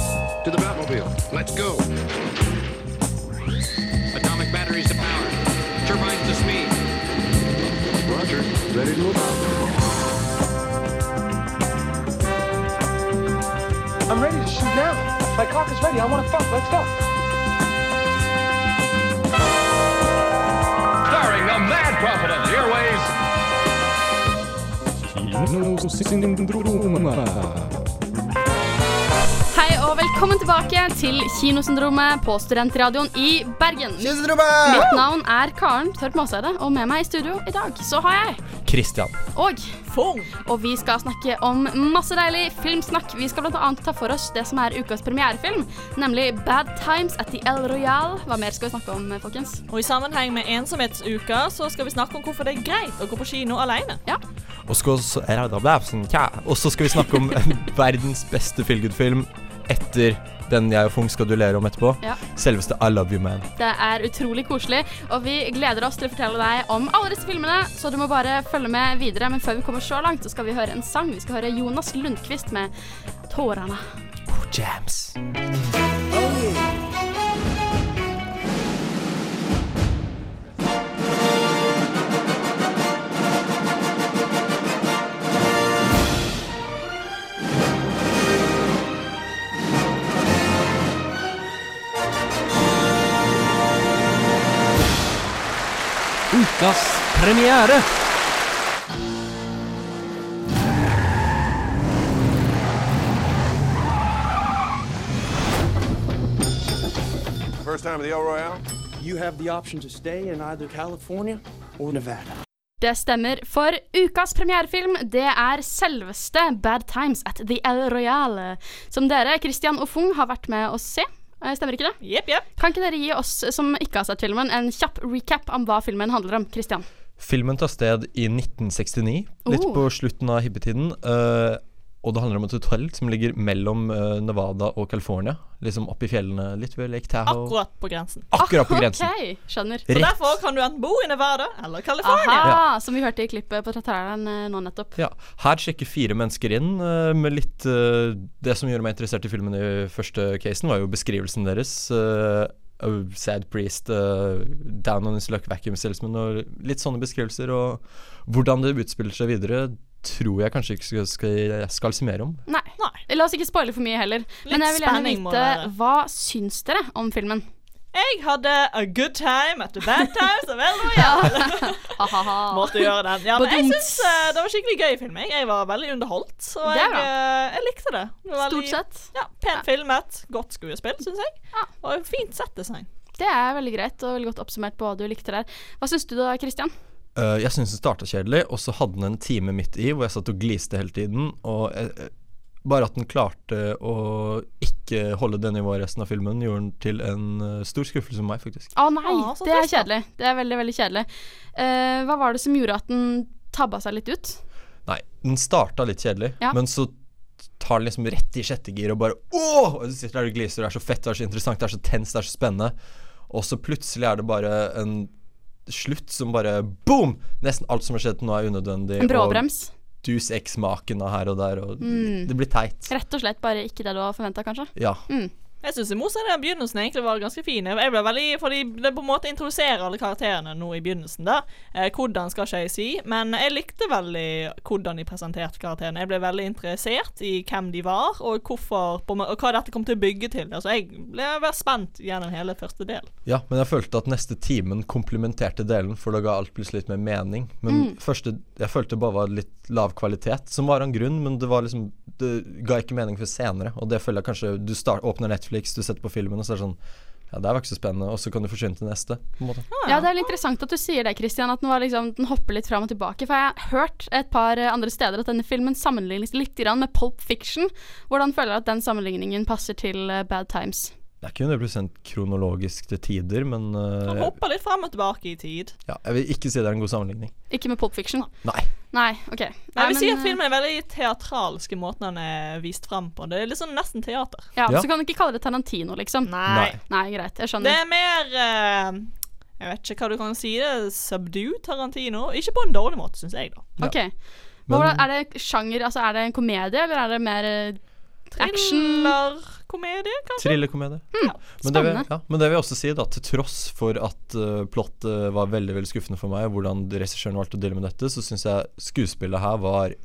to the Batmobile. Let's go. Atomic batteries to power. Turbines to speed. Roger. Ready to move. I'm ready to shoot now. My cock is ready. I want to fuck. Let's go. Starring the mad prophet of the airways, Hei og velkommen tilbake til Kinosyndromet på Studentradioen i Bergen. Kjønnsrommet! Mitt navn er Karen Tørp Maaseide, og med meg i studio i dag så har jeg Christian. og Og vi skal snakke om masse deilig filmsnakk. Vi skal bl.a. ta for oss det som er ukas premierefilm, nemlig Bad Times at the El Royal. Hva mer skal vi snakke om, folkens? Og i sammenheng med ensomhetsuka så skal vi snakke om hvorfor det er greit å gå på kino alene. Ja. Og så sånn, og så skal vi snakke om verdens beste feel good-film etter den jeg og Fung skal duellere om etterpå. Ja. Selveste I Love You Man. Det er utrolig koselig, og vi gleder oss til å fortelle deg om alle disse filmene, så du må bare følge med videre. Men før vi kommer så langt, så skal vi høre en sang. Vi skal høre Jonas Lundqvist med 'Tårene'. Oh, jams. Ukas premiere! First time at the El Royale. You have the option to stay in either California or Nevada. Det stemmer, for ukas premierefilm det er selveste Bad Times at The El Royale, som dere, Christian og Fung, har vært med å se. Eh, Stemmer ikke det? Jepp, jepp. Kan ikke dere gi oss som ikke har sett filmen, en kjapp recap om hva filmen handler om? Christian? Filmen tar sted i 1969, litt Oh. på slutten av hippietiden. eh, og det handler om et hotell som ligger mellom eh, Nevada og California. Liksom oppi fjellene, litt ved Lake Tahoe. Akkurat på grensen. Akkurat på grensen. Ok, skjønner. Og Rett. Derfor kan du enten bo i Nevada eller California. Aha, som vi hørte i klippet på traileren eh, nå nettopp. Ja, Her sjekker fire mennesker inn eh, med litt eh, Det som gjorde meg interessert i filmen i første casen, var jo beskrivelsen deres. eh, av sad priest, eh, down on his luck, vacuum salesman og litt sånne beskrivelser. Og hvordan det utspiller seg videre, tror jeg kanskje ikke skal, skal, skal si mer om. Nei. Nei. La oss ikke spoile for mye heller. Men Litt jeg vil gjerne spenning må vite, være. hva syns dere om filmen? Jeg hadde a good time at the bad times of El Ja. Royale. Ha-ha-ha. Måtte gjøre den. Ja, men jeg Badums. synes eh, det var skikkelig gøy film. jeg. Jeg var veldig underholdt, så Det er jeg, bra. eh, jeg likte det. det var veldig, Stort sett. Ja, Pent filmet, godt skuespill, syns jeg. Ja. Og fint settdesign. Det er veldig greit og veldig godt oppsummert på hva du likte der. Hva syns du da, Christian? Eh, jeg syns den starta kjedelig, og så hadde den en time midt i hvor jeg satt og gliste hele tiden. Og eh, bare at den klarte å ikke holde det nivået resten av filmen, gjorde den til en eh, stor skuffelse for meg, faktisk. Å nei, Å, så det er trist, da. kjedelig. Det er veldig, veldig kjedelig. Eh, hva var det som gjorde at den tabba seg litt ut? Nei, den starta litt kjedelig, Ja. men så tar den liksom rett i sjette gir og bare åh! Og du sitter der og gliser, det er så fett, det er så interessant, det er så tenst, det er så spennende. Og så plutselig er det bare en slutt som bare boom! Nesten alt som har skjedd til nå er unødvendig. En bråbrems? Mm. Og dus eks-maken av her og der, og det blir teit. Rett og slett bare ikke det du har forventa, kanskje? Ja. Jeg syns i motsetning til begynnelsen egentlig var ganske fin. Jeg ble veldig, for de, de på en måte introduserer alle karakterene nå i begynnelsen. da. Eh, hvordan skal ikke jeg si, men jeg likte veldig hvordan de presenterte karakterene. Jeg ble veldig interessert i hvem de var, og, hvorfor, på en må- og hva dette kom til å bygge til. Altså, jeg ble jeg var spent gjennom hele første del. Ja, men jeg følte at neste timen komplementerte delen, for da ga alt plutselig litt mer mening. Men første, jeg følte det bare var litt lav kvalitet, som var en grunn, men det var liksom Det ga ikke mening for senere, og det føler jeg kanskje Du start, åpner Netflix, du setter på filmen, og så er det sånn Ja, det her var ikke så spennende, og så kan du forsvinne til neste, på en måte. Ja, det er litt interessant at du sier det, Christian, at den, var liksom, den hopper litt fram og tilbake. For jeg har hørt et par eh, andre steder at denne filmen sammenlignes litt grann med Pulp Fiction. Hvordan føler du at den sammenligningen passer til eh, Bad Times? Det er ikke 100 kronologisk til tider, men Han eh, hopper litt frem og tilbake i tid. ja, jeg vil ikke si det er en god sammenligning. Ikke med Pulp Fiction, da. Nei. Nei, OK. Nei, Jeg vil si men, eh, at filmen er veldig teatralsk i måten han er vist frem på. Det er litt sånn nesten teater. ja, Ja. Så kan du ikke kalle det Tarantino, liksom. Nei. Nei, greit. Jeg Det skjønner. er mer eh, Jeg vet ikke hva du kan si. Det er subdue Tarantino. Ikke på en dårlig måte, syns jeg, da. Ok. Men- Hvordan, er det sjanger, altså er det en komedie, eller er det mer eh, action? Thriller, Komedie, kanskje? Trillekomedie. Mm, Men det, vil, Spennende. ja, men det vil jeg også si, da, til tross for at eh, plottet var veldig veldig skuffende for meg, hvordan regissøren valgte å deale med dette, så syns jeg skuespillet her var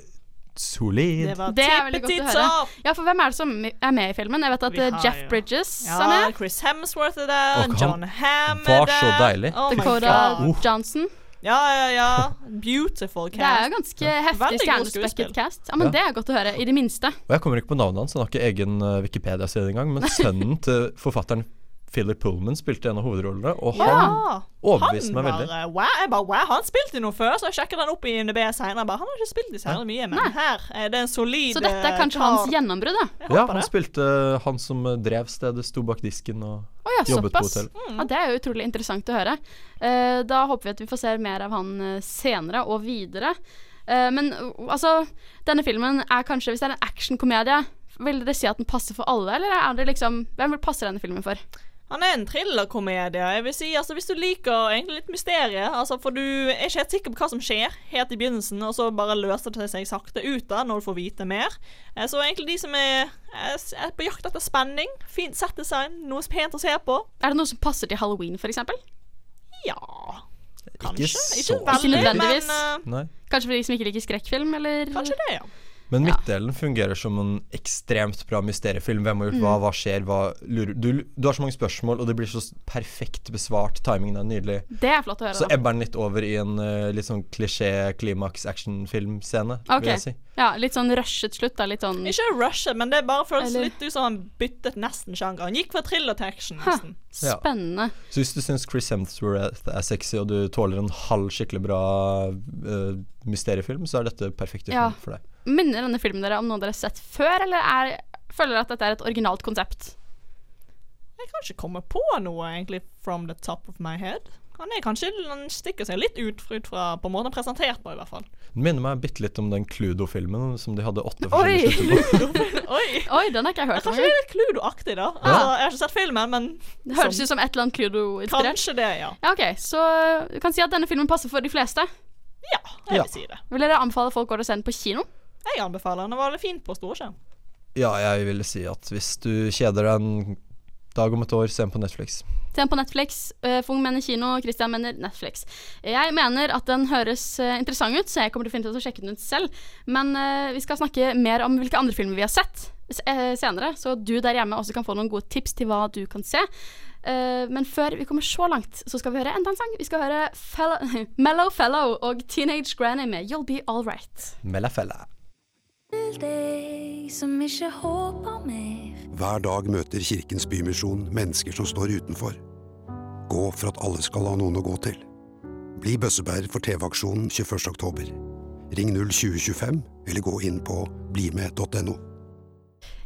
solid. Det var Det er veldig godt å tippetits høre. opp! Ja, for hvem er det som er med i filmen? Jeg vet at Vi eh, har Jeff jo- Bridges Ja, er med. Chris Hemsworth er der, Og han John Hamm er der. var så deilig. Oh my Dakota God. Johnson. Ja, ja, ja. Beautiful Det er cast. jo ganske heftig Veldig god skuespill. stjernespekket cast. Ja, men Ja. Det er godt å høre, i det minste. Og jeg kommer ikke på navnet hans, han har ikke egen eh, Wikipedia-side engang, men sønnen til forfatteren Philip Pullman spilte en av hovedrollene, og han Ja. overbeviste meg var, veldig. eh, wow, jeg bare, wow, han spilte i noe før, så jeg sjekket den opp i NB senere. Jeg Bare, han har ikke spilt i særlig mye, men her er det en solid eh, Så dette er kanskje hans gjennombrudd, da. Ja, han spilte han som eh, drev stedet, sto bak disken og Å ja, jobbet på såpass. hotell. Ja, det er jo utrolig interessant å høre. Eh, da håper vi at vi får se mer av han eh, senere og videre. Eh, men uh, altså, denne filmen er kanskje, hvis det er en actionkomedie, vil dere si at den passer for alle, eller er det liksom Hvem vil passe denne filmen for? Han er en thrillerkomedie. Jeg vil si, altså, hvis du liker egentlig litt mysterie altså, For du er ikke helt sikker på hva som skjer helt i begynnelsen, og så bare løser det seg sakte ut da, når du får vite mer. Eh, Så egentlig de som er, er s- er på jakt etter spenning, fint sett design, noe pent å se på Er det noe som passer til halloween, f.eks.? Ja Kanskje. Ikke så- veldig, Ikke nødvendigvis. men eh, Nei. Kanskje for de som ikke liker skrekkfilm, eller kanskje det, ja. Men midtdelen fungerer som en ekstremt bra mysteriefilm. Hvem har gjort Mm. hva, hva skjer, hva lurer du, du har så mange spørsmål, og det blir så s- perfekt besvart. Timingen er nydelig. Det er flott å høre. Så da. ebber den litt over i en eh, litt sånn klisjé-klimaks-actionfilmscene, Ok. vil jeg si. Ja, litt sånn rushet slutt, da. Litt sånn Ikke rushet, men det bare føles Eller- litt ut som han byttet nesten sjanger. Han gikk fra thriller til action, Ha, nesten. Ja. spennende. Så hvis du syns Chris Hemsworth er sexy, og du tåler en halv skikkelig bra eh, mysteriefilm, så er dette perfekt Ja. film for deg. Minner denne filmen dere om noe dere har sett før, eller er, føler dere at dette er et originalt konsept? Jeg kan ikke komme på noe egentlig from the top of my head. Han er kanskje, han stikker seg litt ut, ut fra på måten han er presentert på, i hvert fall. Den minner meg bitte litt om den Cludo-filmen som de hadde åtte Oi! forskjellige slutter på. Oi! Oi, den har ikke jeg hørt om. Kanskje det er litt Cludo-aktig, da. Altså, jeg har ikke sett filmen, men Det høres ut som et eller annet Cludo-inspirert. kanskje det, ja. Ja, ok, Så du kan si at denne filmen passer for de fleste. Ja, jeg Ja. vil si det. Vil dere anbefale folk å gå og se den på kino? Jeg anbefaler den. Det var veldig fint på storskjerm. Ja, jeg ville si at hvis du kjeder deg en dag om et år, se den på Netflix. Se den på Netflix. Eh, Fung mener kino, Christian mener Netflix. Jeg mener at den høres eh, interessant ut, så jeg kommer definitivt til å sjekke den ut selv. Men eh, vi skal snakke mer om hvilke andre filmer vi har sett s- eh, senere, så du der hjemme også kan få noen gode tips til hva du kan se. Eh, men før vi kommer så langt, så skal vi høre enda en sang. Vi skal høre Fellow, Mellow Fellow og Teenage Granny med You'll Be All Right. Melafella. deg som ikke håper mer. Hver dag møter Kirkens Bymisjon mennesker som står utenfor. Gå for at alle skal ha noen å gå til. Bli bøssebærer for TV-aksjonen 21. oktober. Ring 02025 eller gå inn på blimed.no.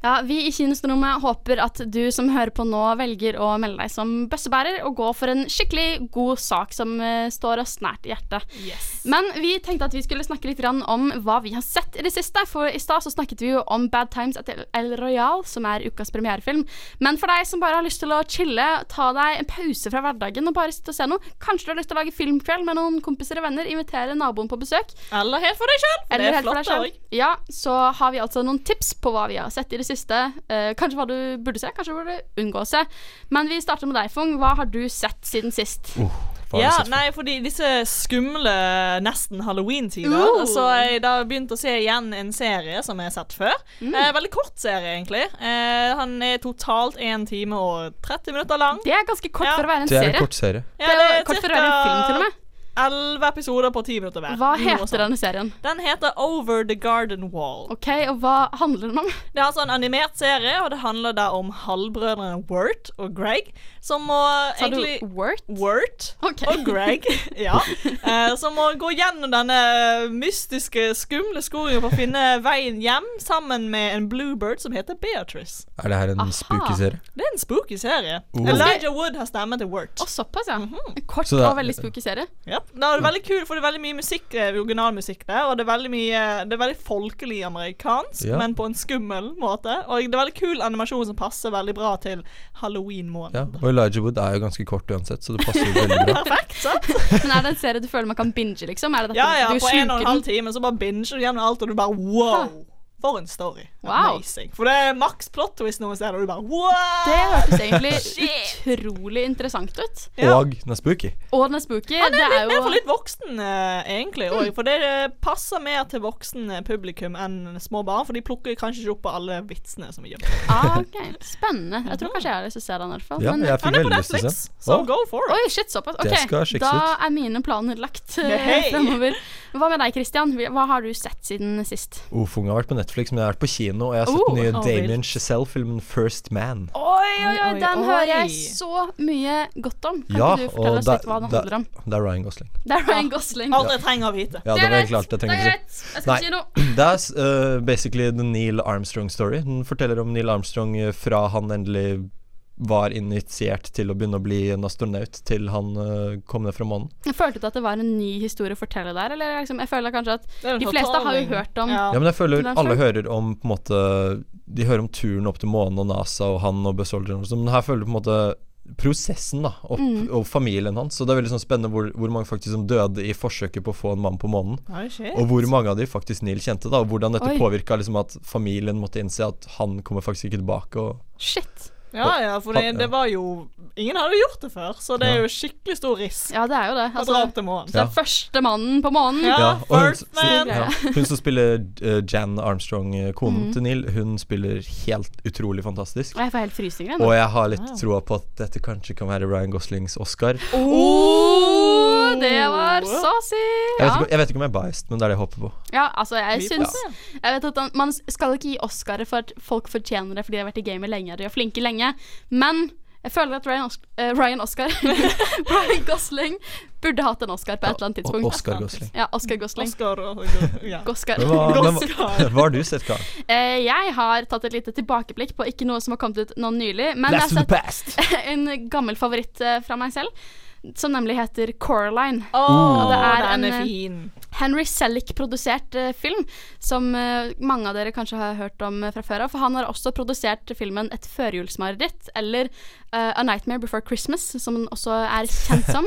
Ja, Vi i Kinosrommet håper at du som hører på nå, velger å melde deg som bøssebærer og gå for en skikkelig god sak som eh, står oss nært i hjertet. Yes. Men vi tenkte at vi skulle snakke litt grann om hva vi har sett i det siste. For i stad så snakket vi jo om Bad Times at El Royal, som er ukas premierefilm. Men for deg som bare har lyst til å chille, ta deg en pause fra hverdagen og bare sitte og se noe. Kanskje du har lyst til å lage filmkveld med noen kompiser og venner, invitere naboen på besøk. Eller helt for deg sjøl. Det Eller er helt for flott, deg det selv. òg. Ja, så har vi altså noen tips på hva vi har sett i det siste. Eh, kanskje hva du burde se, kanskje hva du unngå å se. Men vi starter med deg, Fung. Hva har du sett siden sist? Hva har Ja, du sett for- nei, fordi disse skumle nesten halloween-tider, Uh. så har jeg da begynt å se igjen en serie som jeg har sett før. Mm. Eh, veldig kort serie, egentlig. Eh, han er totalt 1 time og 30 minutter lang. Det er ganske kort Ja. for å være en Det er serie. en kort serie. Ja, det er kort for å være en film, til og med. 11 episoder på 10 minutter hver. Hva Noe sånt. heter denne serien? Den heter Over the Garden Wall. OK, og hva handler den om? Det er altså en animert serie, og det handler da om halvbrødrene Wirt og Greg, som må Sa du egentlig Wort? Wirt Ok. og Greg, ja, eh, som må gå gjennom denne mystiske, skumle skogen for å finne veien hjem sammen med en bluebird som heter Beatrice. Er det her en Aha. spooky serie? Det er en spooky serie. Oh. Elijah Wood har stemmen til Wirt. Å, såpass, ja. Mhm. En kort Så det er- og veldig spooky serie. Yep. Det er veldig kul, for det er veldig mye musikk, eh, originalmusikk der, og det er veldig mye Det er veldig folkelig amerikansk, Ja. men på en skummel måte. Og det er veldig kul animasjon som passer veldig bra til halloween-måneden. Ja. Og Elijah Wood er jo ganske kort uansett, så det passer jo veldig bra. Perfekt, sant? Men er det en serie du føler man kan binge, liksom? Er det dette Ja, ja, du på en og en sluker halv den? time, så bare binger du gjennom alt, og du bare wow! For en story. Wow. Amazing. For det er maks plot twist noen steder, og du bare wow! Det hørtes egentlig Shit. utrolig interessant ut. Ja. Og den er spooky. Og den er spooky. Ja, det er, litt, jo mer for litt voksen, eh, egentlig. og- For det eh, passer mer til voksen eh, publikum enn små barn, for de plukker kanskje ikke opp på alle vitsene som er gjemt. ah, ok. Spennende. Jeg tror kanskje jeg har lyst til å se den. i hvert fall. Ja, Men- jeg Han fikk er på veldig lyst til å se. Netflix, so liksom. Å, go for it. Oi, shit, såpass. Ok, Det skal sjekkes Da ut. er mine planer lagt eh, Hei. fremover. Hva med deg, Christian? Hva har du sett siden sist? Ofung har vært på Netflix, men jeg har vært på kino, og jeg har sett Oh, den nye oh, Damien vilt. Chazelle-filmen First Man. Oi, oi, oi, Oi, den oi. hører jeg så mye godt om. Kan ikke du fortelle oss litt hva den det, handler om? det er Ryan Gosling. Det er Ryan Gosling. Alt jeg trenger å vite. Ja, det var helt klart. Jeg Det trenger er ikke si- greit. Jeg skal Nei. på kino. Det er eh, basically the Neil Armstrong-story. Den forteller om Neil Armstrong eh, fra han endelig var initiert til å begynne å bli en astronaut, til han eh, kom ned fra månen. Jeg følte du at det var en ny historie å fortelle der? Eller liksom, jeg føler kanskje at Det er en de fleste har jo fortelling. hørt om Ja. Ja, men jeg føler Den er alle full. hører om på en måte De hører om turen opp til månen og NASA og han og Buzz Aldrin og sånn, men her føler du på en måte prosessen da, opp, Mm. og familien hans. Så det er veldig sånn spennende hvor, hvor mange faktisk som døde i forsøket på å få en mann på månen. Oi, shit. Og hvor mange av de faktisk Neil kjente, da, og hvordan dette Oi. påvirka liksom, at familien måtte innse at han kommer faktisk ikke tilbake. Og Shit. Ja, ja, for det, det var jo Ingen hadde gjort det før, så det er jo skikkelig stor risk Ja, det er jo det. å dra opp Altså, til månen. det er første mannen på månen. Ja, Ja, og hun, first s- man. ja, hun som spiller eh, Jan Armstrong, eh, konen Mm. til Neil, hun spiller helt utrolig fantastisk. Og jeg får helt frysninger Og ennå. jeg har litt troa på at dette kanskje kan være Ryan Goslings Oscar. Jeg Oh, det var så si! vet, Ja. ikke, jeg vet ikke om jeg er biased, men det er det jeg håper på. Ja, altså jeg Vi får syns se. Jeg vet at han- Man skal ikke gi Oscarer for at folk fortjener det fordi de har vært i gamet lenge og de er flinke lenge, men jeg føler at Ryan, Os eh, Ryan Oscar Ryan Gosling burde hatt en Oscar på et eller annet tidspunkt. O- Oscar Gosling. Ja, Oscar Gosling. Oscar og ja. Oscar. Hva, men, Oscar. hva har du sett, Karen? Eh, jeg har tatt et lite tilbakeblikk på ikke noe som har kommet ut nå nylig, men jeg har Blast to sett the Eh, past! en gammel favoritt eh, fra meg selv, som nemlig heter Coraline. Å, det er en- den er eh, fin. Henry Selick-produsert eh, film, som eh, mange av dere kanskje har hørt om eh, fra før av. For han har også produsert filmen 'Et førjulsmareritt', eller eh, 'A Nightmare Before Christmas', som den også er kjent som.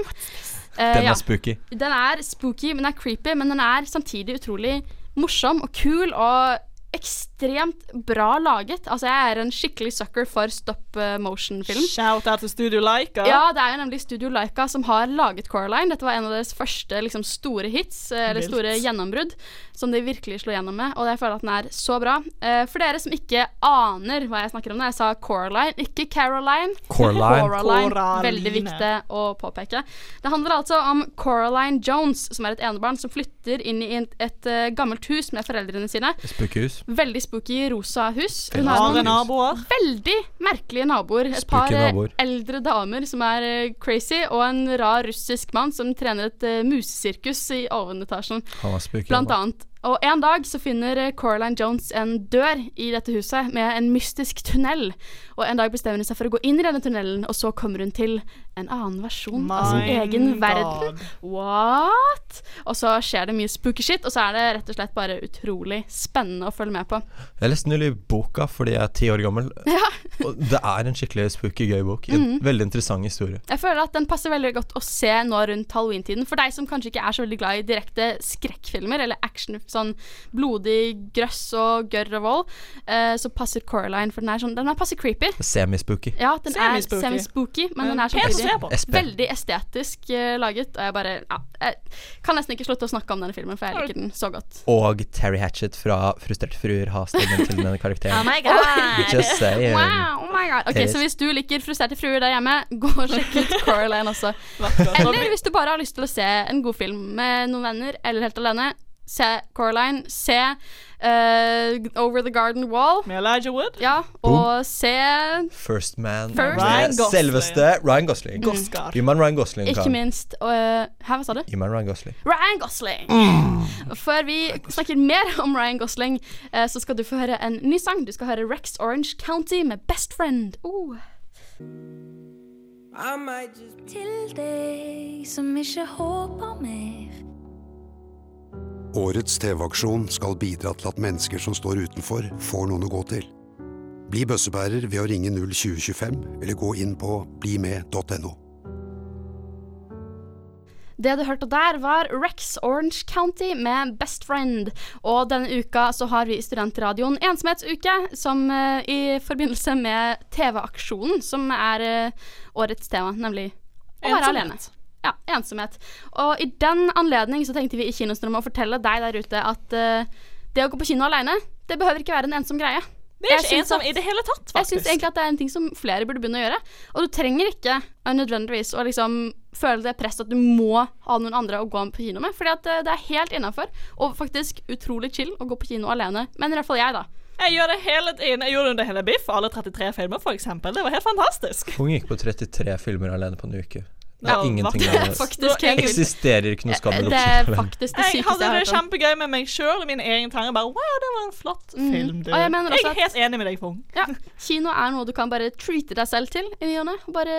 Eh, Den ja. er spooky. Den er spooky, men den er creepy, men den er samtidig utrolig morsom og kul og ekstremt bra laget. Altså, jeg er en skikkelig sucker for stop eh, motion-film. Shout out til Studio Laika. Ja, det er jo nemlig Studio Laika som har laget Coraline. Dette var en av deres første liksom, store hits, eh, eller Vilt. store gjennombrudd, som de virkelig slo gjennom med. Og jeg føler at den er så bra. Eh, for dere som ikke aner hva jeg snakker om når jeg sa Coraline, ikke Caroline. Coraline. Coraline. Coraline. Veldig viktig å påpeke. Det handler altså om Coraline Jones, som er et enebarn som flytter inn i et, et eh, gammelt hus med foreldrene sine. Spookhus. Veldig spooky rosa hus. Hun har Rare noen naboer. Veldig merkelige naboer. Et par Spooky eh, naboer. eldre damer som er eh, crazy, og en rar russisk mann som trener et eh, musesirkus i ovenetasjen, Han er spooky. blant han. annet. Og en dag så finner eh, Coraline Jones en dør i dette huset med en mystisk tunnel. Og en dag bestemmer hun seg for å gå inn i denne tunnelen, og så kommer hun til en annen versjon av sin My Altså, egen God. verden. What? Og så skjer det mye spooky shit, og så er det rett og slett bare utrolig spennende å følge med på. Jeg leste nylig boka fordi jeg er ti år gammel. og det er en skikkelig spooky gøy bok. En Mhm. veldig interessant historie. Jeg føler at den passer veldig godt å se nå rundt halloweentiden. For deg som kanskje ikke er så veldig glad i direkte skrekkfilmer eller action, sånn blodig grøss og gørr og vold, eh, så passer Coraline, for den er sånn Den er passe creepy. Semi-spooky. Ja, den er Semi-spooky. semi-spooky, men den er så Pen å se creepy. på. SP. Veldig estetisk eh, laget. Og jeg bare ja, Jeg kan nesten ikke slutte å snakke om denne filmen, for jeg liker den så godt. Og Terry Hatchett fra 'Frustrerte fruer' har stemmen til denne Oh karakteren. my god. Just saying. Wow, oh my god. Ok, Så hvis du liker frustrerte fruer der hjemme, gå og sjekk ut Coraline også. Eller hvis du bare har lyst til å se en god film med noen venner, eller helt alene, se Coraline, se eh, Over the Garden Wall, Med Elijah Wood. ja, og se First Man. First- Med Ryan Gosling. Selveste Ryan Gosling. Mm. Oscar. Gi meg en Ryan Gosling, ikke Karen. minst eh, Hæ, hva sa du? Gi meg en Ryan Gosling. Ryan Gosling! Før vi snakker mer om Ryan Gosling, eh, så skal du få høre en ny sang. Du skal høre Rex Orange County med Best Friend. Oh. Til deg som ikke håper mer. Årets TV-aksjon skal bidra til at mennesker som står utenfor, får noen å gå til. Bli bøssebærer ved å ringe 02025 eller gå inn på blimed.no. Det du hørte der, var Rex Orange County med Best Friend. Og denne uka så har vi i Studentradioen ensomhetsuke, som eh, i forbindelse med TV-aksjonen, som er eh, årets tema, nemlig å være Ensomhet. alene. Ja, ensomhet. Og i den anledning så tenkte vi i Kinostrømmet å fortelle deg der ute at eh, det å gå på kino alene, det behøver ikke være en ensom greie. Det er Jeg ikke syns ensom at- i det hele tatt, jeg syns faktisk. egentlig at det er en ting som flere burde begynne å gjøre. Og du trenger ikke eh, nødvendigvis å liksom føle det presset at du må ha noen andre å gå på kino med. Fordi at eh, det er helt innafor, og faktisk utrolig chill å gå på kino alene. Men i hvert fall jeg, da. Jeg gjør det hele tiden. Jeg gjorde det under hele Biff, alle 33 filmer, for eksempel. Det var helt fantastisk. Hun gikk på 33 filmer alene på en uke. Det Ja, er ingenting hva- annerledes. Faktisk helt egentlig- Eksisterer ikke noe skam i Det er oppskytingen. faktisk det Jeg sykeste hadde jeg det har hørt om. kjempegøy med meg sjøl og mine egne tanker. Bare, wow, det var en flott film, du. Og Mm. jeg mener også er helt enig med deg, Fung. Ja, kino er noe du kan bare treate deg selv til i ny og ne. og Bare,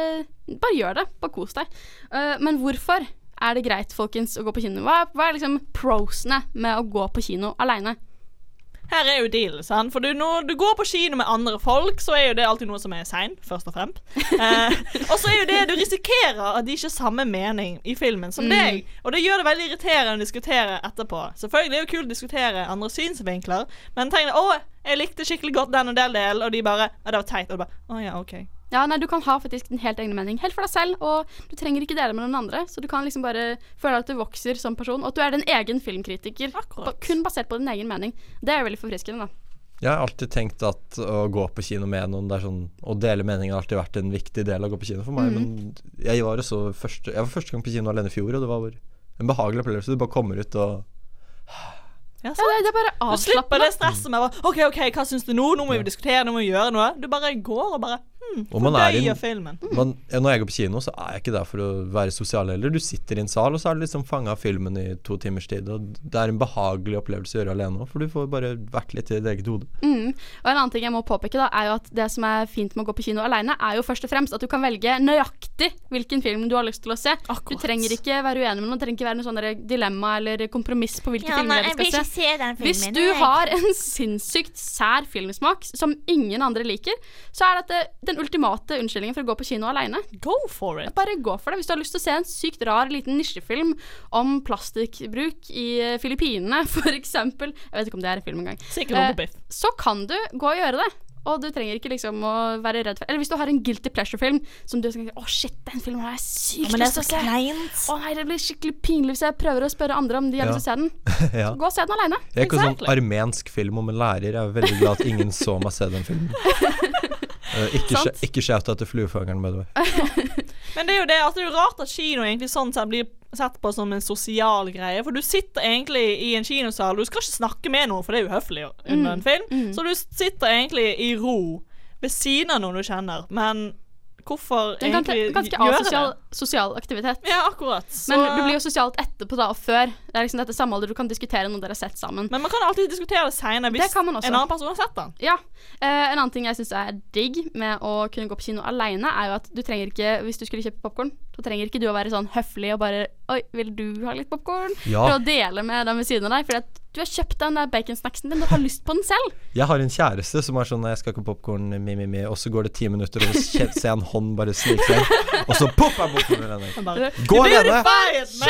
bare gjør det. Bare kos deg. Eh, men hvorfor er det greit, folkens, å gå på kino? Hva er, hva er liksom prosene med å gå på kino aleine? Her er jo dealen, sant. For du, når du går på kino med andre folk, så er jo det alltid noe som er sein, først og fremst. Eh, og så er jo det du risikerer at de ikke har samme mening i filmen Mm. som deg. Og det gjør det veldig irriterende å diskutere etterpå. Selvfølgelig er det jo kult å diskutere andre synsvinkler, men tenk deg å, jeg likte skikkelig godt den og den delen, og de bare Ja, det var teit. Og du bare Å ja, OK. Ja, nei, Du kan ha faktisk din helt egne mening helt for deg selv, og du trenger ikke dele med noen andre. Så du kan liksom bare føle at du vokser som person, og at du er din egen filmkritiker. Akkurat. Ba- Kun basert på din egen mening. Det er jo veldig forfriskende, da. Jeg har alltid tenkt at å gå på kino med noen det er sånn, Å dele meninger har alltid vært en viktig del av å gå på kino for meg. Men jeg var, også første, jeg var første gang på kino alene i fjor, og det var bare en behagelig opplevelse. Du bare kommer ut og Ja, Ja, sant? det, det er bare Du slipper avslappende. det stresset med bare, OK, OK, hva syns du nå? Nå må vi diskutere, nå må vi gjøre noe. Du bare går og bare hm, Og man er i- fordøyer filmen. man, ja, Når jeg går på kino, så er jeg ikke der for å være sosial heller. Du sitter i en sal, og så er du liksom fanga av filmen i to timers tid. Og det er en behagelig opplevelse å gjøre alene òg, for du får bare vært litt i ditt eget hode. Og en annen ting jeg må påpeke da, er jo at det som er fint med å gå på kino alene, er jo først og fremst at du kan velge nøyaktig hvilken film du har lyst til å se. Du Akkurat. trenger ikke være uenig med noen, det trenger ikke være noe sånn der dilemma eller kompromiss på hvilke filmer du skal se. den Hvis du har en sinnssykt sær filmsmak som ingen andre liker, så er dette den ultimate unnskyldningen for å gå på kino alene. Go for it. Bare gå for det. Hvis du har lyst til å se en sykt rar liten nisjefilm om plastikkbruk i eh, Filippinene, for eksempel Jeg vet ikke om det er en film engang. Sikkert noe Eh, på Biff. så kan du gå og gjøre det. Og du trenger ikke liksom å være redd for Eller hvis du har en guilty pleasure-film som du tenker Å, shit, den filmen har jeg sykt lyst til å se. Å nei, det blir skikkelig pinlig hvis jeg prøver å spørre andre om de har Ja. lyst til å se den. ja. Gå og se den alene. Jeg er ikke Exactly. sånn armensk film om en lærer. Jeg er veldig glad at ingen så meg se den filmen. Eh, ikke Sant. sh- ikke shout out til fluefangeren, by the way. Men det er jo det at det er jo rart at kino egentlig sånn sett blir sett på som en sosial greie. For du sitter egentlig i en kinosal, du skal ikke snakke med noen, for det er uhøflig Mm, under en film. Så du sitter egentlig i ro ved siden av noen du kjenner. Men hvorfor Det er en ganske, egentlig ganske gjøre asosial sosial aktivitet. det? Ja, akkurat. Så, Men du blir jo sosialt etterpå da, og før. Det er liksom dette samholdet du kan diskutere når dere har sett sammen. men man kan alltid diskutere det seinere Det hvis kan en man også. annen person har sett den. Ja. Eh, en annen ting jeg syns er digg med å kunne gå på kino alene, er jo at du trenger ikke, hvis du skulle kjøpe popkorn, så trenger ikke du å være sånn høflig og bare Oi, vil du ha litt popkorn? Ja. For å dele med den ved siden av deg. Fordi at du har kjøpt den der baconsnacksen din, du har lyst på den selv. Jeg har en kjæreste som er sånn Nei, 'Jeg skal ikke ha popkorn, mi, mi, mi', og så går det ti minutter, og så kje- ser jeg en hånd bare snike seg inn, og så popp er popkornen Jeg hennes. Bare, Altså, Gå det gjør du alene! feil, men-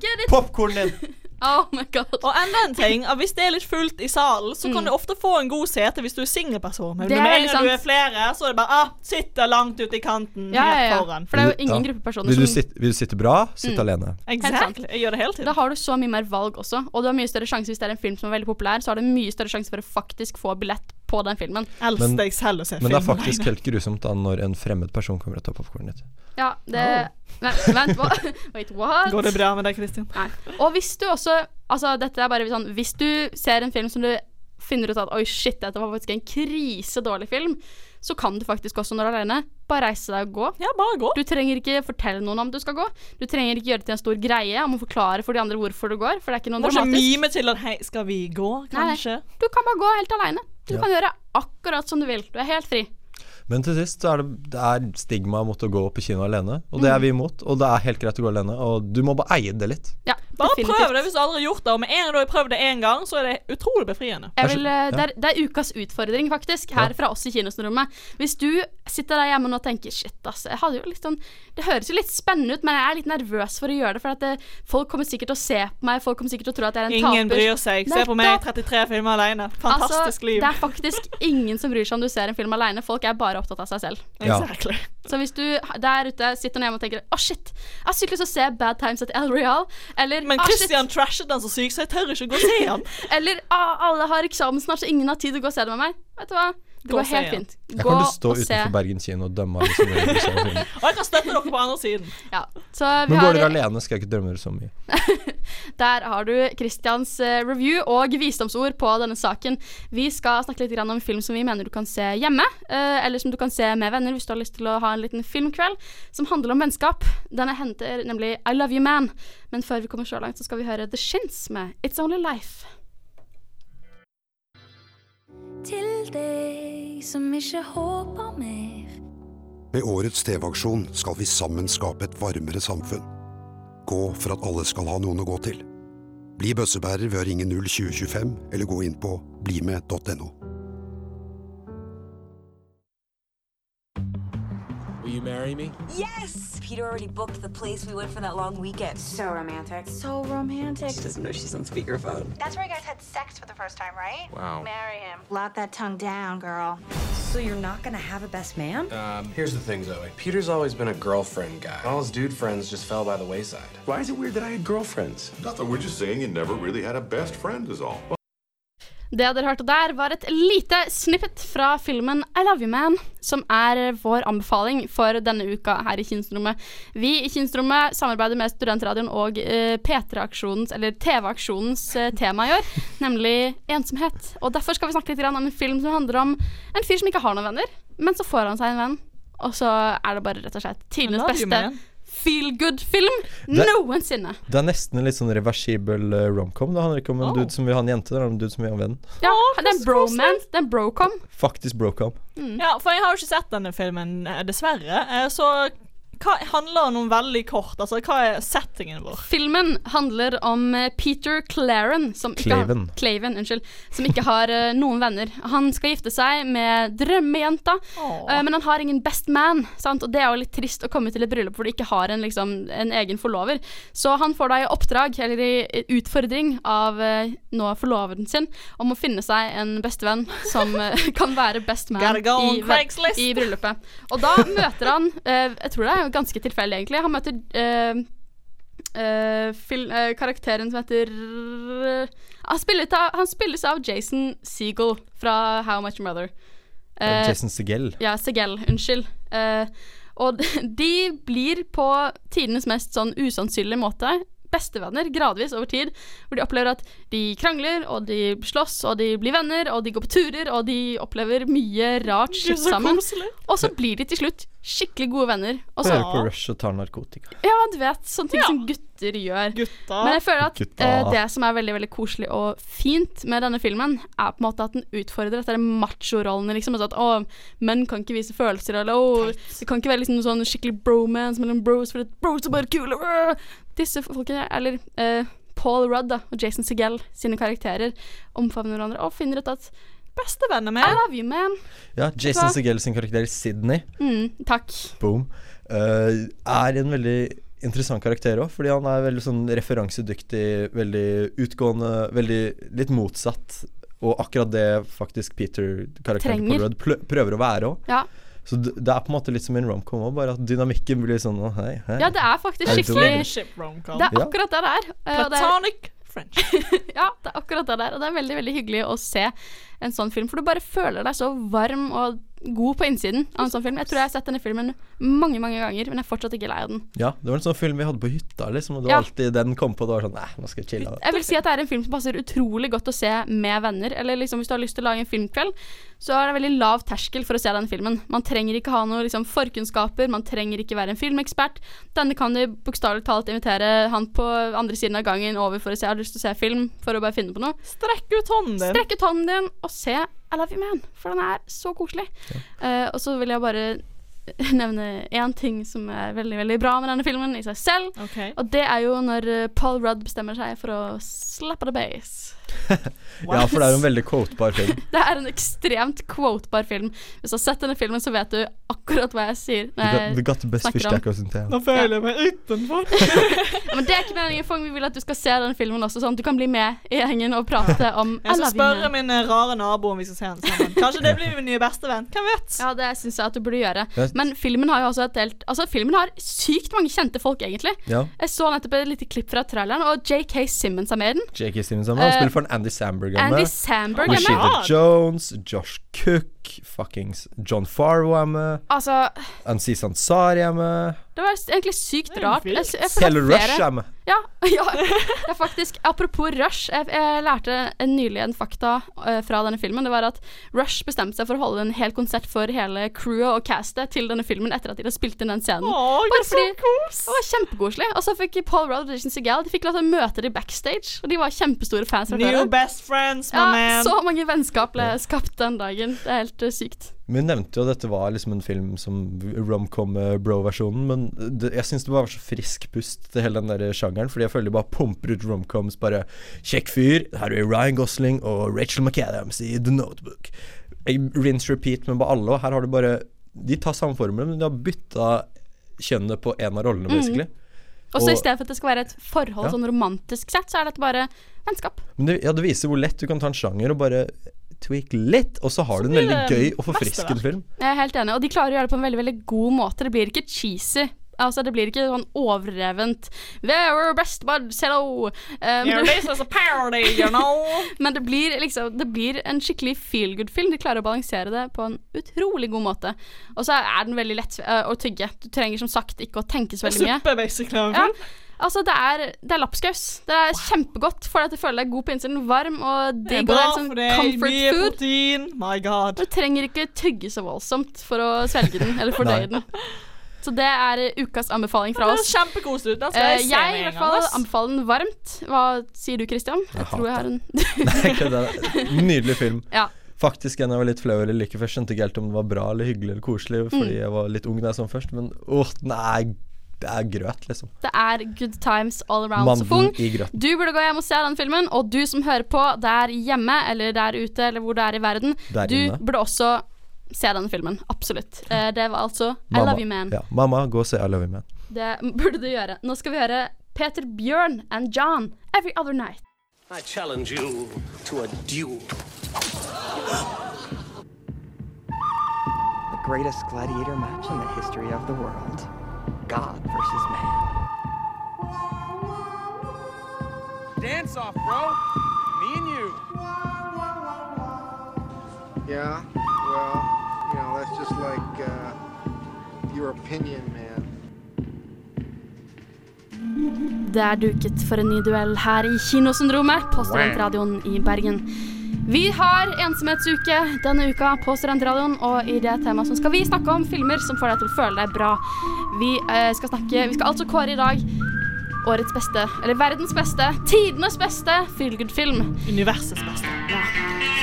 Kjøpte ikke popkornen din! Oh my god. Og enda en ting, at hvis det er litt fullt i salen, så kan du ofte få en god sete hvis du er singelperson. Men Mm. Det er med en veldig gang du sant. er flere, så er det bare ah, sitter langt ute i kanten Ja, ja, helt ja. foran. For det er jo ingen Mm. Ja. gruppepersoner Vil du, som Mm. sitte, vil du sitte bra, sitt alene. sant. Exactly. Jeg gjør det hele da tiden. har du så mye mer valg også, og du har mye større sjanse hvis det er en film som er veldig populær, så har du mye større sjanse for å faktisk få billett på den filmen. Elsker Men- deg selv å se Men film det er faktisk alene. helt grusomt da når en fremmed person kommer og tar popkornet ditt. Ja, det Vent, vent, what? Wait, what? Går det bra med deg, Kristin? Nei. Og hvis du også Altså, dette er bare sånn Hvis du ser en film som du finner ut at Oi, shit, dette var faktisk en krisedårlig film, så kan du faktisk også, når du er alene, bare reise deg og gå. Ja, bare gå. Du trenger ikke fortelle noen om du skal gå. Du trenger ikke gjøre det til en stor greie om å forklare for de andre hvorfor du går, for det er ikke noe Må ikke dramatisk. mime til at hei, skal vi gå, Nei, nei. kanskje? Du kan bare gå helt alene. Du Ja. kan gjøre akkurat som du vil. Du er helt fri. Men til sist så er det, det er Mm. stigma mot å gå på kino alene, og det er vi imot. Og det er helt greit å gå alene, og du må bare eie det litt. Ja, Bare Definitivt. prøv det hvis du aldri har gjort det, og med en gang du har prøvd det én gang, så er det utrolig befriende. Jeg Jeg vil, skjø- eh, det, er, det er ukas utfordring, faktisk, her fra oss i Kinosnorommet. Hvis du sitter der hjemme nå og tenker shit, ass, jeg hadde jo litt sånn Det høres jo litt spennende ut, men jeg er litt nervøs for å gjøre det. For at det, folk kommer sikkert til å se på meg, folk kommer sikkert til å tro at jeg er en taper. Ingen bryr seg. Se på meg, Nettopp. Altså, 33 filmer alene. Fantastisk liv. Det er faktisk ingen som bryr seg om du ser en film alene. Folk er bare opptatt av seg selv. Ja. Exactly. Så hvis du der ute sitter hjemme og tenker å shit, jeg har sykt lyst til å se Bad Times at El Real, eller Men «Ah, shit, Christian trashet den så sykt, så jeg tør ikke å gå og se han. Eller ah, alle har eksamen snart, så ingen har tid til å gå og se det med meg. Vet du hva? Det Gå og går se, helt ja. fint. Jeg Gå kommer til å stå og se. utenfor Bergen kino og dømme alle som vil se film. Og jeg kan støtte dere på andre siden. Ja. Så vi Men går dere har, alene, skal jeg ikke drømme dere så mye. der har du Christians eh, review og visdomsord på denne saken. Vi skal snakke litt grann om film som vi mener du kan se hjemme, eh, eller som du kan se med venner hvis du har lyst til å ha en liten filmkveld som handler om vennskap. Denne henter nemlig I Love You Man. Men før vi kommer så langt, så skal vi høre The Shins med It's Only Life. Til deg som ikke håper mer. Med årets TV-aksjon skal vi sammen skape et varmere samfunn. Gå for at alle skal ha noen å gå til. Bli bøssebærer ved å ringe 02025 eller gå inn på blimed.no. Will you marry me? Yes! Peter already booked the place we went for that long weekend. So romantic. So romantic. She doesn't know she's on speakerphone. That's where you guys had sex for the first time, right? Wow. Marry him. Lock that tongue down, girl. So you're not gonna have a best man? Um, here's the thing, Zoe. Peter's always been a girlfriend guy. All his dude friends just fell by the wayside. Why is it weird that I had girlfriends? Nothing, we're just saying you never really had a best friend, is all. Det dere hørte der, var et lite snippet fra filmen I Love You Man, som er vår anbefaling for denne uka her i Kinsrommet. Vi i Kinsrommet samarbeider med Studentradioen og eh, P3-aksjonens, eller TV-aksjonens, eh, tema i år, nemlig ensomhet. Og derfor skal vi snakke litt grann om en film som handler om en fyr som ikke har noen venner, men så får han seg en venn, og så er det bare rett og slett tidenes Love You beste Man. feel good-film Det- noensinne. Det er nesten en litt sånn reversibel eh, romcom. Det handler ikke om en Oh. dude som vil ha en jente, det handler om en dude som vil ha en venn. Ja, Å, det er en så bromance, det er en brocom. Faktisk brocom. Mm. Ja, for jeg har jo ikke sett denne filmen, eh, dessverre. Eh, Så hva handler den om veldig kort? Altså, hva er settingen vår? Filmen handler om eh, Peter Claren som ikke Claven. Har, Claven, unnskyld. Som ikke har eh, noen venner. Han skal gifte seg med drømmejenta, Åh. eh, men han har ingen best man. Sant? Og det er jo litt trist å komme til et bryllup hvor du ikke har en, liksom, en egen forlover. Så han får da i oppdrag, eller i i utfordring av eh, nå forloveren sin, om å finne seg en bestevenn som eh, kan være best man Gotta go on i, Craigslist. i bryllupet. Og da møter han, eh, jeg tror det er jo ganske tilfeldig egentlig, han møter eh, eh, fil, eh, karakteren som heter eh, han, spilles av, han spilles av Jason Segel fra How Much Mother. Eh, Eh, Jason Segel. ja, Segel. Unnskyld. Eh, og de blir på tidenes mest sånn usannsynlige måte bestevenner gradvis over tid, hvor de opplever at de krangler, og de slåss, og de blir venner, og de går på turer, og de opplever mye rart shit så sammen. koselig. Og så blir de til slutt skikkelig gode venner. Og så, Hører på Rush og tar narkotika. ja, du vet, sånne ting som gutter gjør. Gutta. Men jeg føler at Gutta. eh, det som er veldig veldig koselig og fint med denne filmen, er på en måte at den utfordrer dette machorollene. Liksom, altså at å, menn kan ikke vise følelser, eller å, det kan ikke være liksom, noe sånn skikkelig bromance mellom bros, for at bros er bare kule. øh. Disse folkene, eller eh, Paul Rudd da, og Jason Segel sine karakterer, omfavner hverandre og finner ut at Bestevenner I med. love you, man. Ja, Jason hva? Segel sin karakter Sydney, Mm, takk. boom, eh, er en veldig interessant karakter òg, fordi han er veldig sånn referansedyktig, veldig utgående, veldig litt motsatt. Og akkurat det faktisk Peter, karakteren Trenger. på Rudd, plø- prøver å være òg. Ja. Så det det er på en måte litt som en romcom òg, bare at dynamikken blir sånn å, hei, hei. ja, det er faktisk Er det skikkelig Friendship romcom. Det er Ja. akkurat det det er. Eh, og det er Platonic friendship. Ja, det er akkurat det der. Og det er veldig veldig hyggelig å se en sånn film. For du bare føler deg så varm og god på innsiden av en sånn film. Jeg tror jeg har sett denne filmen mange mange ganger, men jeg er fortsatt ikke lei av den. Ja, det var en sånn film vi hadde på hytta, liksom. Og det Ja. var alltid den kom på, og det var sånn Nei, nå skal jeg chille. Jeg vil si at det er en film som passer utrolig godt å se med venner. Eller liksom hvis du har lyst til å lage en filmkveld, så er det veldig lav terskel for å se den filmen. Man trenger ikke ha noe liksom, forkunnskaper, man trenger ikke være en filmekspert. Denne kan du bokstavelig talt invitere han på andre siden av gangen over for å se. Jeg har lyst til å se film for å bare finne på noe. Strekk ut hånden din. Strekk ut hånden din og se I Love You Man, for den er så koselig. Eh, og så vil jeg bare nevne én ting som er veldig veldig bra med denne filmen i seg selv. Ok. Og det er jo når eh, Paul Rudd bestemmer seg for å slappe the base. eh, Ja, for det er jo en veldig quotebar film. Det er en ekstremt quotebar film. Hvis du har sett denne filmen, så vet du akkurat hva jeg sier. når jeg the got the best snakker fish om- tacos in town. Nå føler jeg meg utenfor. Ja, Men det er ikke meningen, Fong. Vi vil at du skal se den filmen også, sånn at du kan bli med i gjengen og prate om Jeg I skal love you, spørre man. min eh, rare nabo om vi skal se den sammen. Kanskje det blir min nye bestevenn. Hvem vet? Ja, det syns jeg at du burde gjøre. Jeg- Men filmen har jo også et helt Altså, filmen har sykt mange kjente folk, egentlig. Ja. Jeg så nettopp et lite klipp fra traileren, og JK Simmons er med i den. J.K. Simonsen. Han Eh, spiller for en Andy Samberg er Andy med. Samberg er med. Rashida Jones, Josh Cook, fuckings John Farrow er med. Altså, Aziz Ansari er med. det var egentlig sykt rart. Jeg, sy- jeg føler Taylor at Rush flere- er med. Ja, ja. Det er faktisk, apropos Rush, jeg, jeg lærte en nylig en fakta eh, fra denne filmen. Det var at Rush bestemte seg for å holde en hel konsert for hele crewet og castet til denne filmen etter at de hadde spilt inn den scenen. Åh, det er så kos! det var kjempekoselig. Og så fikk Paul Rudd og Jason Segel De fikk lov til å møte dem backstage, og de var kjempestore fans. fra før New av. best friends, my ja, man. så mange vennskap ble skapt den dagen. Det er helt eh, sykt. Men Hun nevnte jo at dette var liksom en film som romcom-bro-versjonen, men det, jeg syns det bare var så frisk pust til hele den der sjangeren, fordi jeg føler de bare pumper ut romcoms. Bare 'Kjekk fyr', her er Ryan Gosling og Rachel McAdams i The Notebook. Jeg- Rinse repeat med bare alle, og her har du bare De tar samme formel, men de har bytta kjønnet på en av Mm. rollene, basically. Og så Og- i stedet for at det skal være et forhold Ja. sånn romantisk sett, så er dette bare vennskap. Men det, ja, det viser hvor lett du kan ta en sjanger og bare tweak litt, og så har du en veldig gøy det og forfriskende mesterverk. film. Jeg er helt enig, og de klarer å gjøre det på en veldig veldig god måte. Det blir ikke cheesy. Altså, Det blir ikke sånn overrevent They were best buds, hello! Eh, Yeah, men, det, this is a parody, you know. men det blir liksom Det blir en skikkelig feel good-film. De klarer å balansere det på en utrolig god måte. Og så er den veldig lett eh, å tygge. Du trenger som sagt ikke å tenke så veldig mye. Suppe, basically. liksom. Ja. Altså, det er, det er lapskaus. Det er kjempegodt, for at jeg føler deg god på innsiden. Varm og Det er digg. og Det bra er liksom for deg. comfort Mye food. protein. My god. Du trenger ikke tygge så voldsomt for å svelge den, eller Nei. fordøye den. Så det er eh, ukas anbefaling Det fra er oss. kjempekoselig ut. Den skal Eh, jeg se jeg i med en hvert gang. fall ass. anbefaler den varmt. Hva sier du, Christian? Jeg, hater tror jeg har en Nei, ikke det. Nydelig film. Ja. Faktisk en jeg var litt flau eller like, for jeg skjønte ikke helt om den var bra eller hyggelig eller koselig, Mm. fordi jeg var litt ung da jeg så den først, men åh, den er, det er grøt, liksom. Det er good times all around. Mandelen Sofung. i grøten. Du burde gå hjem og se den filmen, og du som hører på der hjemme eller der ute eller hvor det er i verden, Der du inne. burde også se denne filmen. Absolutt. Eh, det var altså I Mamma- Love You Man. Ja, mamma, gå og se I Love You Man. Det burde du gjøre. Nå skal vi høre Peter Bjørn and John Every Other Night. I challenge you to a duel. The greatest gladiator match in the history of the world. God versus man. Dance off, bro. Me and you. Yeah, well, you know, that's just like uh, your opinion, man. Det er duket for en ny duell her i Kinosyndromet på Studentradioen i Bergen. Vi har ensomhetsuke denne uka på Studentradioen, og i det temaet som skal vi snakke om filmer som får deg til å føle deg bra. Vi, eh, skal, snakke, vi skal altså kåre i dag årets beste, eller verdens beste, tidenes beste feelgood-film. Universets beste.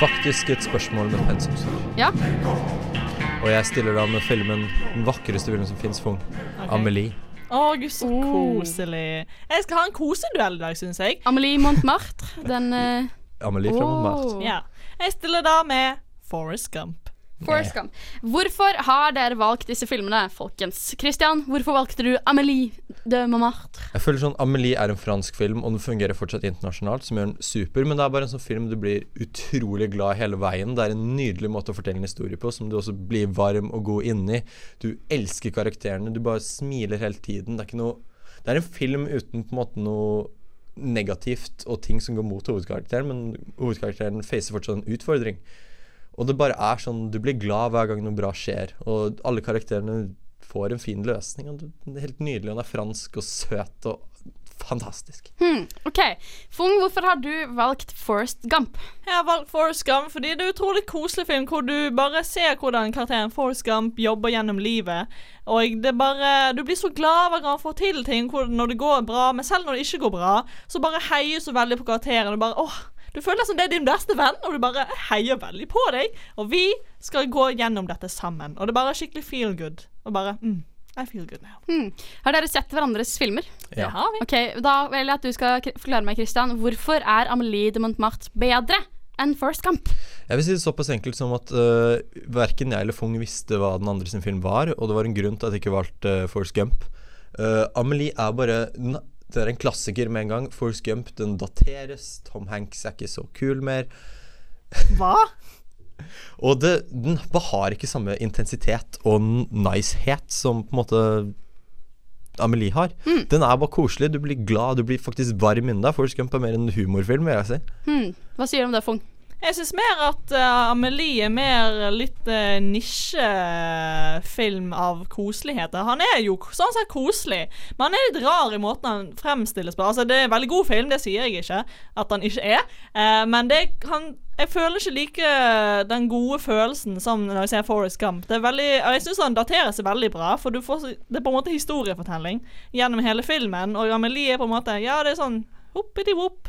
Faktisk et spørsmål med pensum. Ja. Og jeg stiller da med filmen, den vakreste filmen som finnes, Fung. Amelie. Å, gud, så Oh. koselig. Jeg skal ha en koseduell i dag, syns jeg. Amelie Montmartre, den eh, Amelie fra Åh. Montmartre. Ja. Jeg stiller da med Forrest Gump. Forrest Gump. Hvorfor har dere valgt disse filmene, folkens? Christian, hvorfor valgte du Amelie de Montmartre? Jeg føler sånn Amelie er en fransk film, og den fungerer fortsatt internasjonalt, som gjør den super, men det er bare en sånn film du blir utrolig glad i hele veien. Det er en nydelig måte å fortelle en historie på, som du også blir varm og god inni. Du elsker karakterene, du bare smiler hele tiden. Det er ikke noe Det er en film uten på en måte noe negativt og ting som går mot hovedkarakteren, men hovedkarakteren facer fortsatt en utfordring. Og det bare er sånn Du blir glad hver gang noe bra skjer, og alle karakterene får en fin løsning. Og det er helt nydelig. Han er fransk og søt og fantastisk. Hmm, OK. Fung, hvorfor har du valgt Forrest Gump? Jeg har valgt Forrest Gump fordi det er en utrolig koselig film hvor du bare ser hvordan karakteren Forrest Gump jobber gjennom livet. Og det er bare, Du blir så glad hver gang han får til ting hvor, når det går bra, men selv når det ikke går bra, så bare heier du så veldig på karakteren. Og bare, åh, Du føler som det er din beste venn, og du bare heier veldig på deg. Og vi skal gå gjennom dette sammen. Og det er bare skikkelig feel good. Og bare mm, I feel good now. Hmm. Har dere sett hverandres filmer? Ja. Det har vi. Ok, Da vil jeg at du skal kri- forklare meg, Christian. Hvorfor er Amelie de Montmartre bedre enn First Camp? Jeg vil si det såpass enkelt som at uh, verken jeg eller Fung visste hva den andre sin film var, og det var en grunn til at jeg ikke valgte uh, Force Gump. Uh, Amelie er bare den- Det er en klassiker med en gang. Force Gump, den dateres. Tom Hanks er ikke så kul mer. Hva? Og det, den har ikke samme intensitet og n- nicehet som på en måte Amelie har. Mm. Den er bare koselig. Du blir glad, du blir faktisk varm inni deg. Force Gump er mer en humorfilm, vil jeg si. Hmm. Hva sier du om det, Fung? Jeg syns mer at eh, Amelie er mer litt eh, nisjefilm av koseligheter. Han er jo k- sånn sett koselig, men han er litt rar i måten han fremstilles på. Altså, det er en veldig god film, det sier jeg ikke at han ikke er, eh, men det, han, jeg føler ikke like den gode følelsen som når jeg ser Forest Gump. Det er veldig, og jeg syns han daterer seg veldig bra, for du får, så- det er på en måte historiefortelling gjennom hele filmen, og Amelie er på en måte Ja, det er sånn hoppeti-whopp.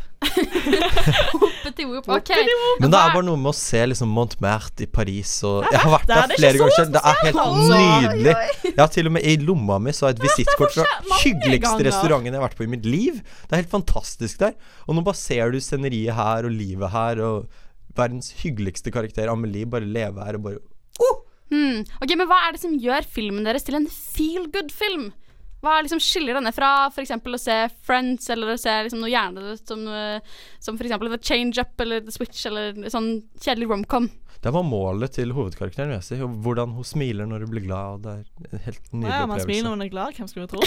Hoppeti-whopp. ok. Men det er bare noe med å se liksom Montmartre i Paris og Jeg Jeg har vet vært det, der det er flere ikke ganger så selv. Det er helt spesielt. nydelig. Oi, oi. Jeg har til og med i lomma mi så har jeg et visittkort fra forskjell- mange hyggeligste ganger. restauranten jeg har vært på i mitt liv. Det er helt fantastisk der. Og nå bare ser du sceneriet her og livet her og verdens hyggeligste karakter, Amelie, bare leve her og bare Hmm. Ok, Men hva er det som gjør filmen deres til en feel good-film? Hva er liksom skiller denne fra for eksempel å se Friends eller å se liksom noe hjernedødt som, eh, som f.eks. The Change Up eller The Switch eller sånn kjedelig romcom? Det var målet til hovedkarakteren, vil jeg si. og Hvordan hun smiler når hun blir glad. og Det er en helt nydelig Ja, man smiler opplevelse. når man er glad, hvem skulle tro?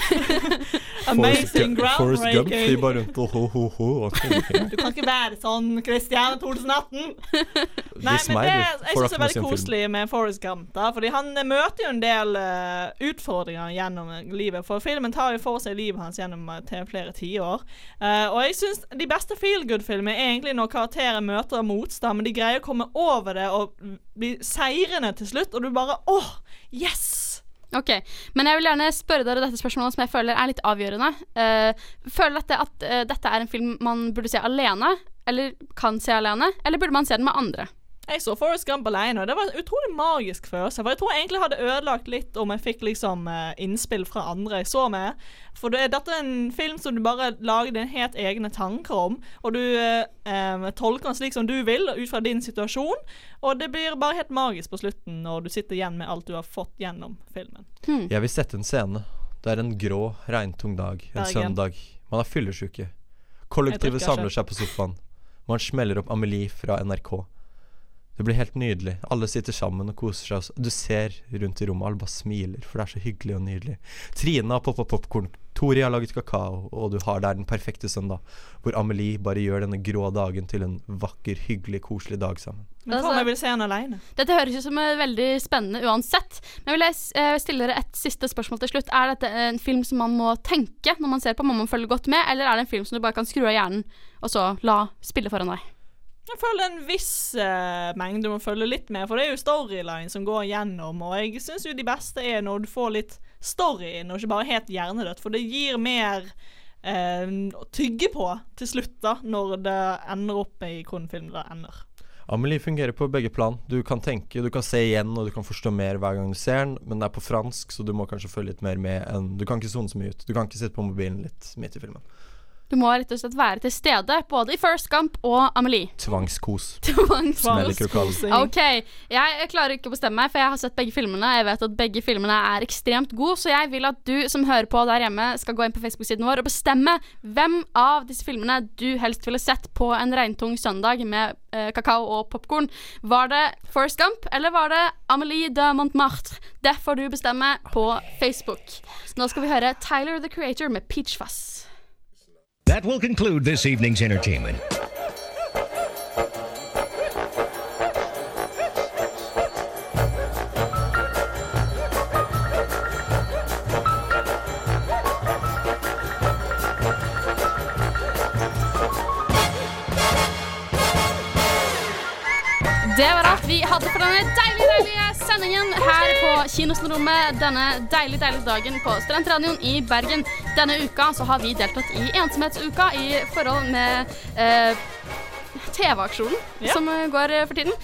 Amazing Forrest Gump sier groundbreaking. bare rundt og ho-ho-ho. og ingenting. Du kan ikke være sånn, Christian 2018! Nei, Vis men meg, det, du. Får jeg syns det dere med er veldig sin film? koselig med Forrest Gump. da, fordi han eh, møter jo en del eh, utfordringer gjennom eh, livet. For filmen tar jo for seg livet hans gjennom eh, til flere tiår. Eh, og jeg syns de beste feel good-filmer er egentlig når karakterer møter motstand, men de greier å komme over det og bli seirende til slutt, og du bare åh, yes! Ok, Men jeg vil gjerne spørre dere dette spørsmålet som jeg føler er litt avgjørende. Eh, føler dette at eh, dette er en film man burde se alene, eller kan se alene, eller burde man se den med andre? Jeg så Forrest Gump alene, og det var en utrolig magisk følelse. For jeg tror jeg egentlig hadde ødelagt litt om jeg fikk liksom eh, innspill fra andre jeg så med. For det, dette er en film som du bare lager dine helt egne tanker om. Og du eh, eh, tolker den slik som du vil, ut fra din situasjon. Og det blir bare helt magisk på slutten når du sitter igjen med alt du har fått gjennom filmen. Jeg vil sette en scene. Det er en grå, regntung dag. En Bergen. søndag. Man er fyllesyke. Jeg drikker Kollektivet samler ikke. seg på sofaen. Man smeller opp Amelie fra NRK. Det blir helt nydelig. Alle sitter sammen og koser seg. Du ser rundt i rommet, alle bare smiler, for det er så hyggelig og nydelig. Trine har poppa popkorn. Tori har laget kakao, og du har der den perfekte søndag, hvor Amelie bare gjør denne grå dagen til en vakker, hyggelig, koselig dag sammen. Men hva om jeg vil se den alene? Dette høres ut som eh, veldig spennende uansett. Men vil jeg eh, stille dere et siste spørsmål til slutt. Er dette en film som man må tenke når man ser på, må man følge godt med, eller er det en film som du bare kan skru av hjernen og så la spille foran deg? Jeg føler en viss eh, mengde du må følge litt med, for det er jo storyline som går gjennom, og jeg syns jo de beste er når du får litt story inn, og ikke bare helt hjernedødt, for det gir mer eh, å tygge på til slutt, da, når det ender opp i hvordan filmen da ender. Amelie fungerer på begge plan. Du kan tenke, du kan se igjen og du kan forstå mer hver gang du ser den, men det er på fransk, så du må kanskje følge litt mer med enn Du kan ikke sone så mye ut. Du kan ikke sitte på mobilen litt midt i filmen. Du må rett og slett være til stede både i First Gump og Amelie. Tvangskos. Tvangskos. Smeller krokallen. OK. Jeg klarer ikke å bestemme meg, for jeg har sett begge filmene. Jeg vet at begge filmene er ekstremt gode, så jeg vil at du som hører på der hjemme, skal gå inn på Facebook-siden vår og bestemme hvem av disse filmene du helst ville sett på en regntung søndag med eh, kakao og popkorn. Var det Forrest Gump, eller var det Amelie de Montmartre? Det får du bestemme på Facebook. Nå skal vi høre Tyler the Creator med Peach Fuzz. That will conclude this evening's entertainment. Det var alt vi hadde for denne deilige, deilige sendingen her på Kinosnorommet denne deilige, deilige dagen på Studentradioen i Bergen. Denne uka så har vi deltatt i ensomhetsuka i forhold med eh, TV-aksjonen som eh, går eh, for tiden.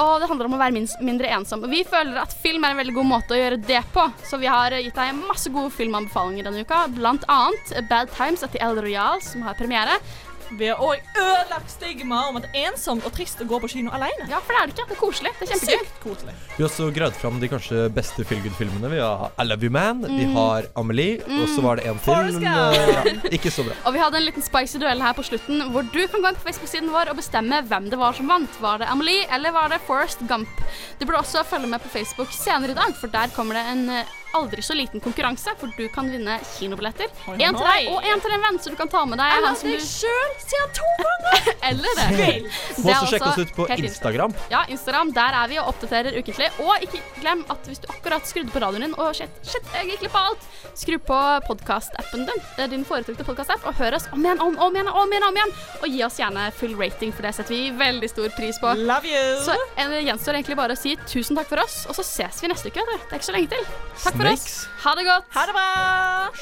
Og det handler om å være minst, mindre ensom. Vi føler at film er en veldig god måte å gjøre det på, så vi har eh, gitt deg masse gode filmanbefalinger denne uka, blant annet Bad Times etter El Royal, som har premiere. Vi har òg ødelagt stigmaet om at det er ensomt og trist å gå på kino alene. Ja, for det er det ikke. Det er koselig. Det er kjempegøy. Sykt koselig. Vi har også greid fram de kanskje beste Feelgood-filmene. Vi har I Love You Man, vi Mm. har Amelie, og så var det en til. Forrest men, Gump. eh, ja, ikke så bra. Og vi hadde en liten spicy duell her på slutten, hvor du kan gå inn på Facebook-siden vår og bestemme hvem det var som vant. Var det Amelie, eller var det Forrest Gump? Du burde også følge med på Facebook senere i dag, for der kommer det en eh, aldri så liten konkurranse, hvor du kan vinne kinobilletter. Én til deg nei. og én til en venn, så du kan ta med deg Jeg han har som er deg du sjøl siden to ganger! Eller det. Vel. Det er Få oss å sjekke altså oss ut på helt innenfor. Instagram. Ja, Instagram. Der er vi og oppdaterer ukentlig. Og ikke glem at hvis du akkurat skrudde på radioen din og shit, shit jeg gikk glipp av alt, skru på podkastappen din, eh, din foretrukne podkastapp, og hør oss om igjen, om, om igjen, om igjen, om igjen. Og gi oss gjerne full rating, for det setter vi veldig stor pris på. Love you. Så eh, det gjenstår egentlig bare å si tusen takk for oss, og så ses vi neste uke. vet du. Det er ikke så lenge til. Takk for Snakes. oss. Ha det godt. Ha det bra.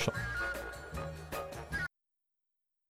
Sja-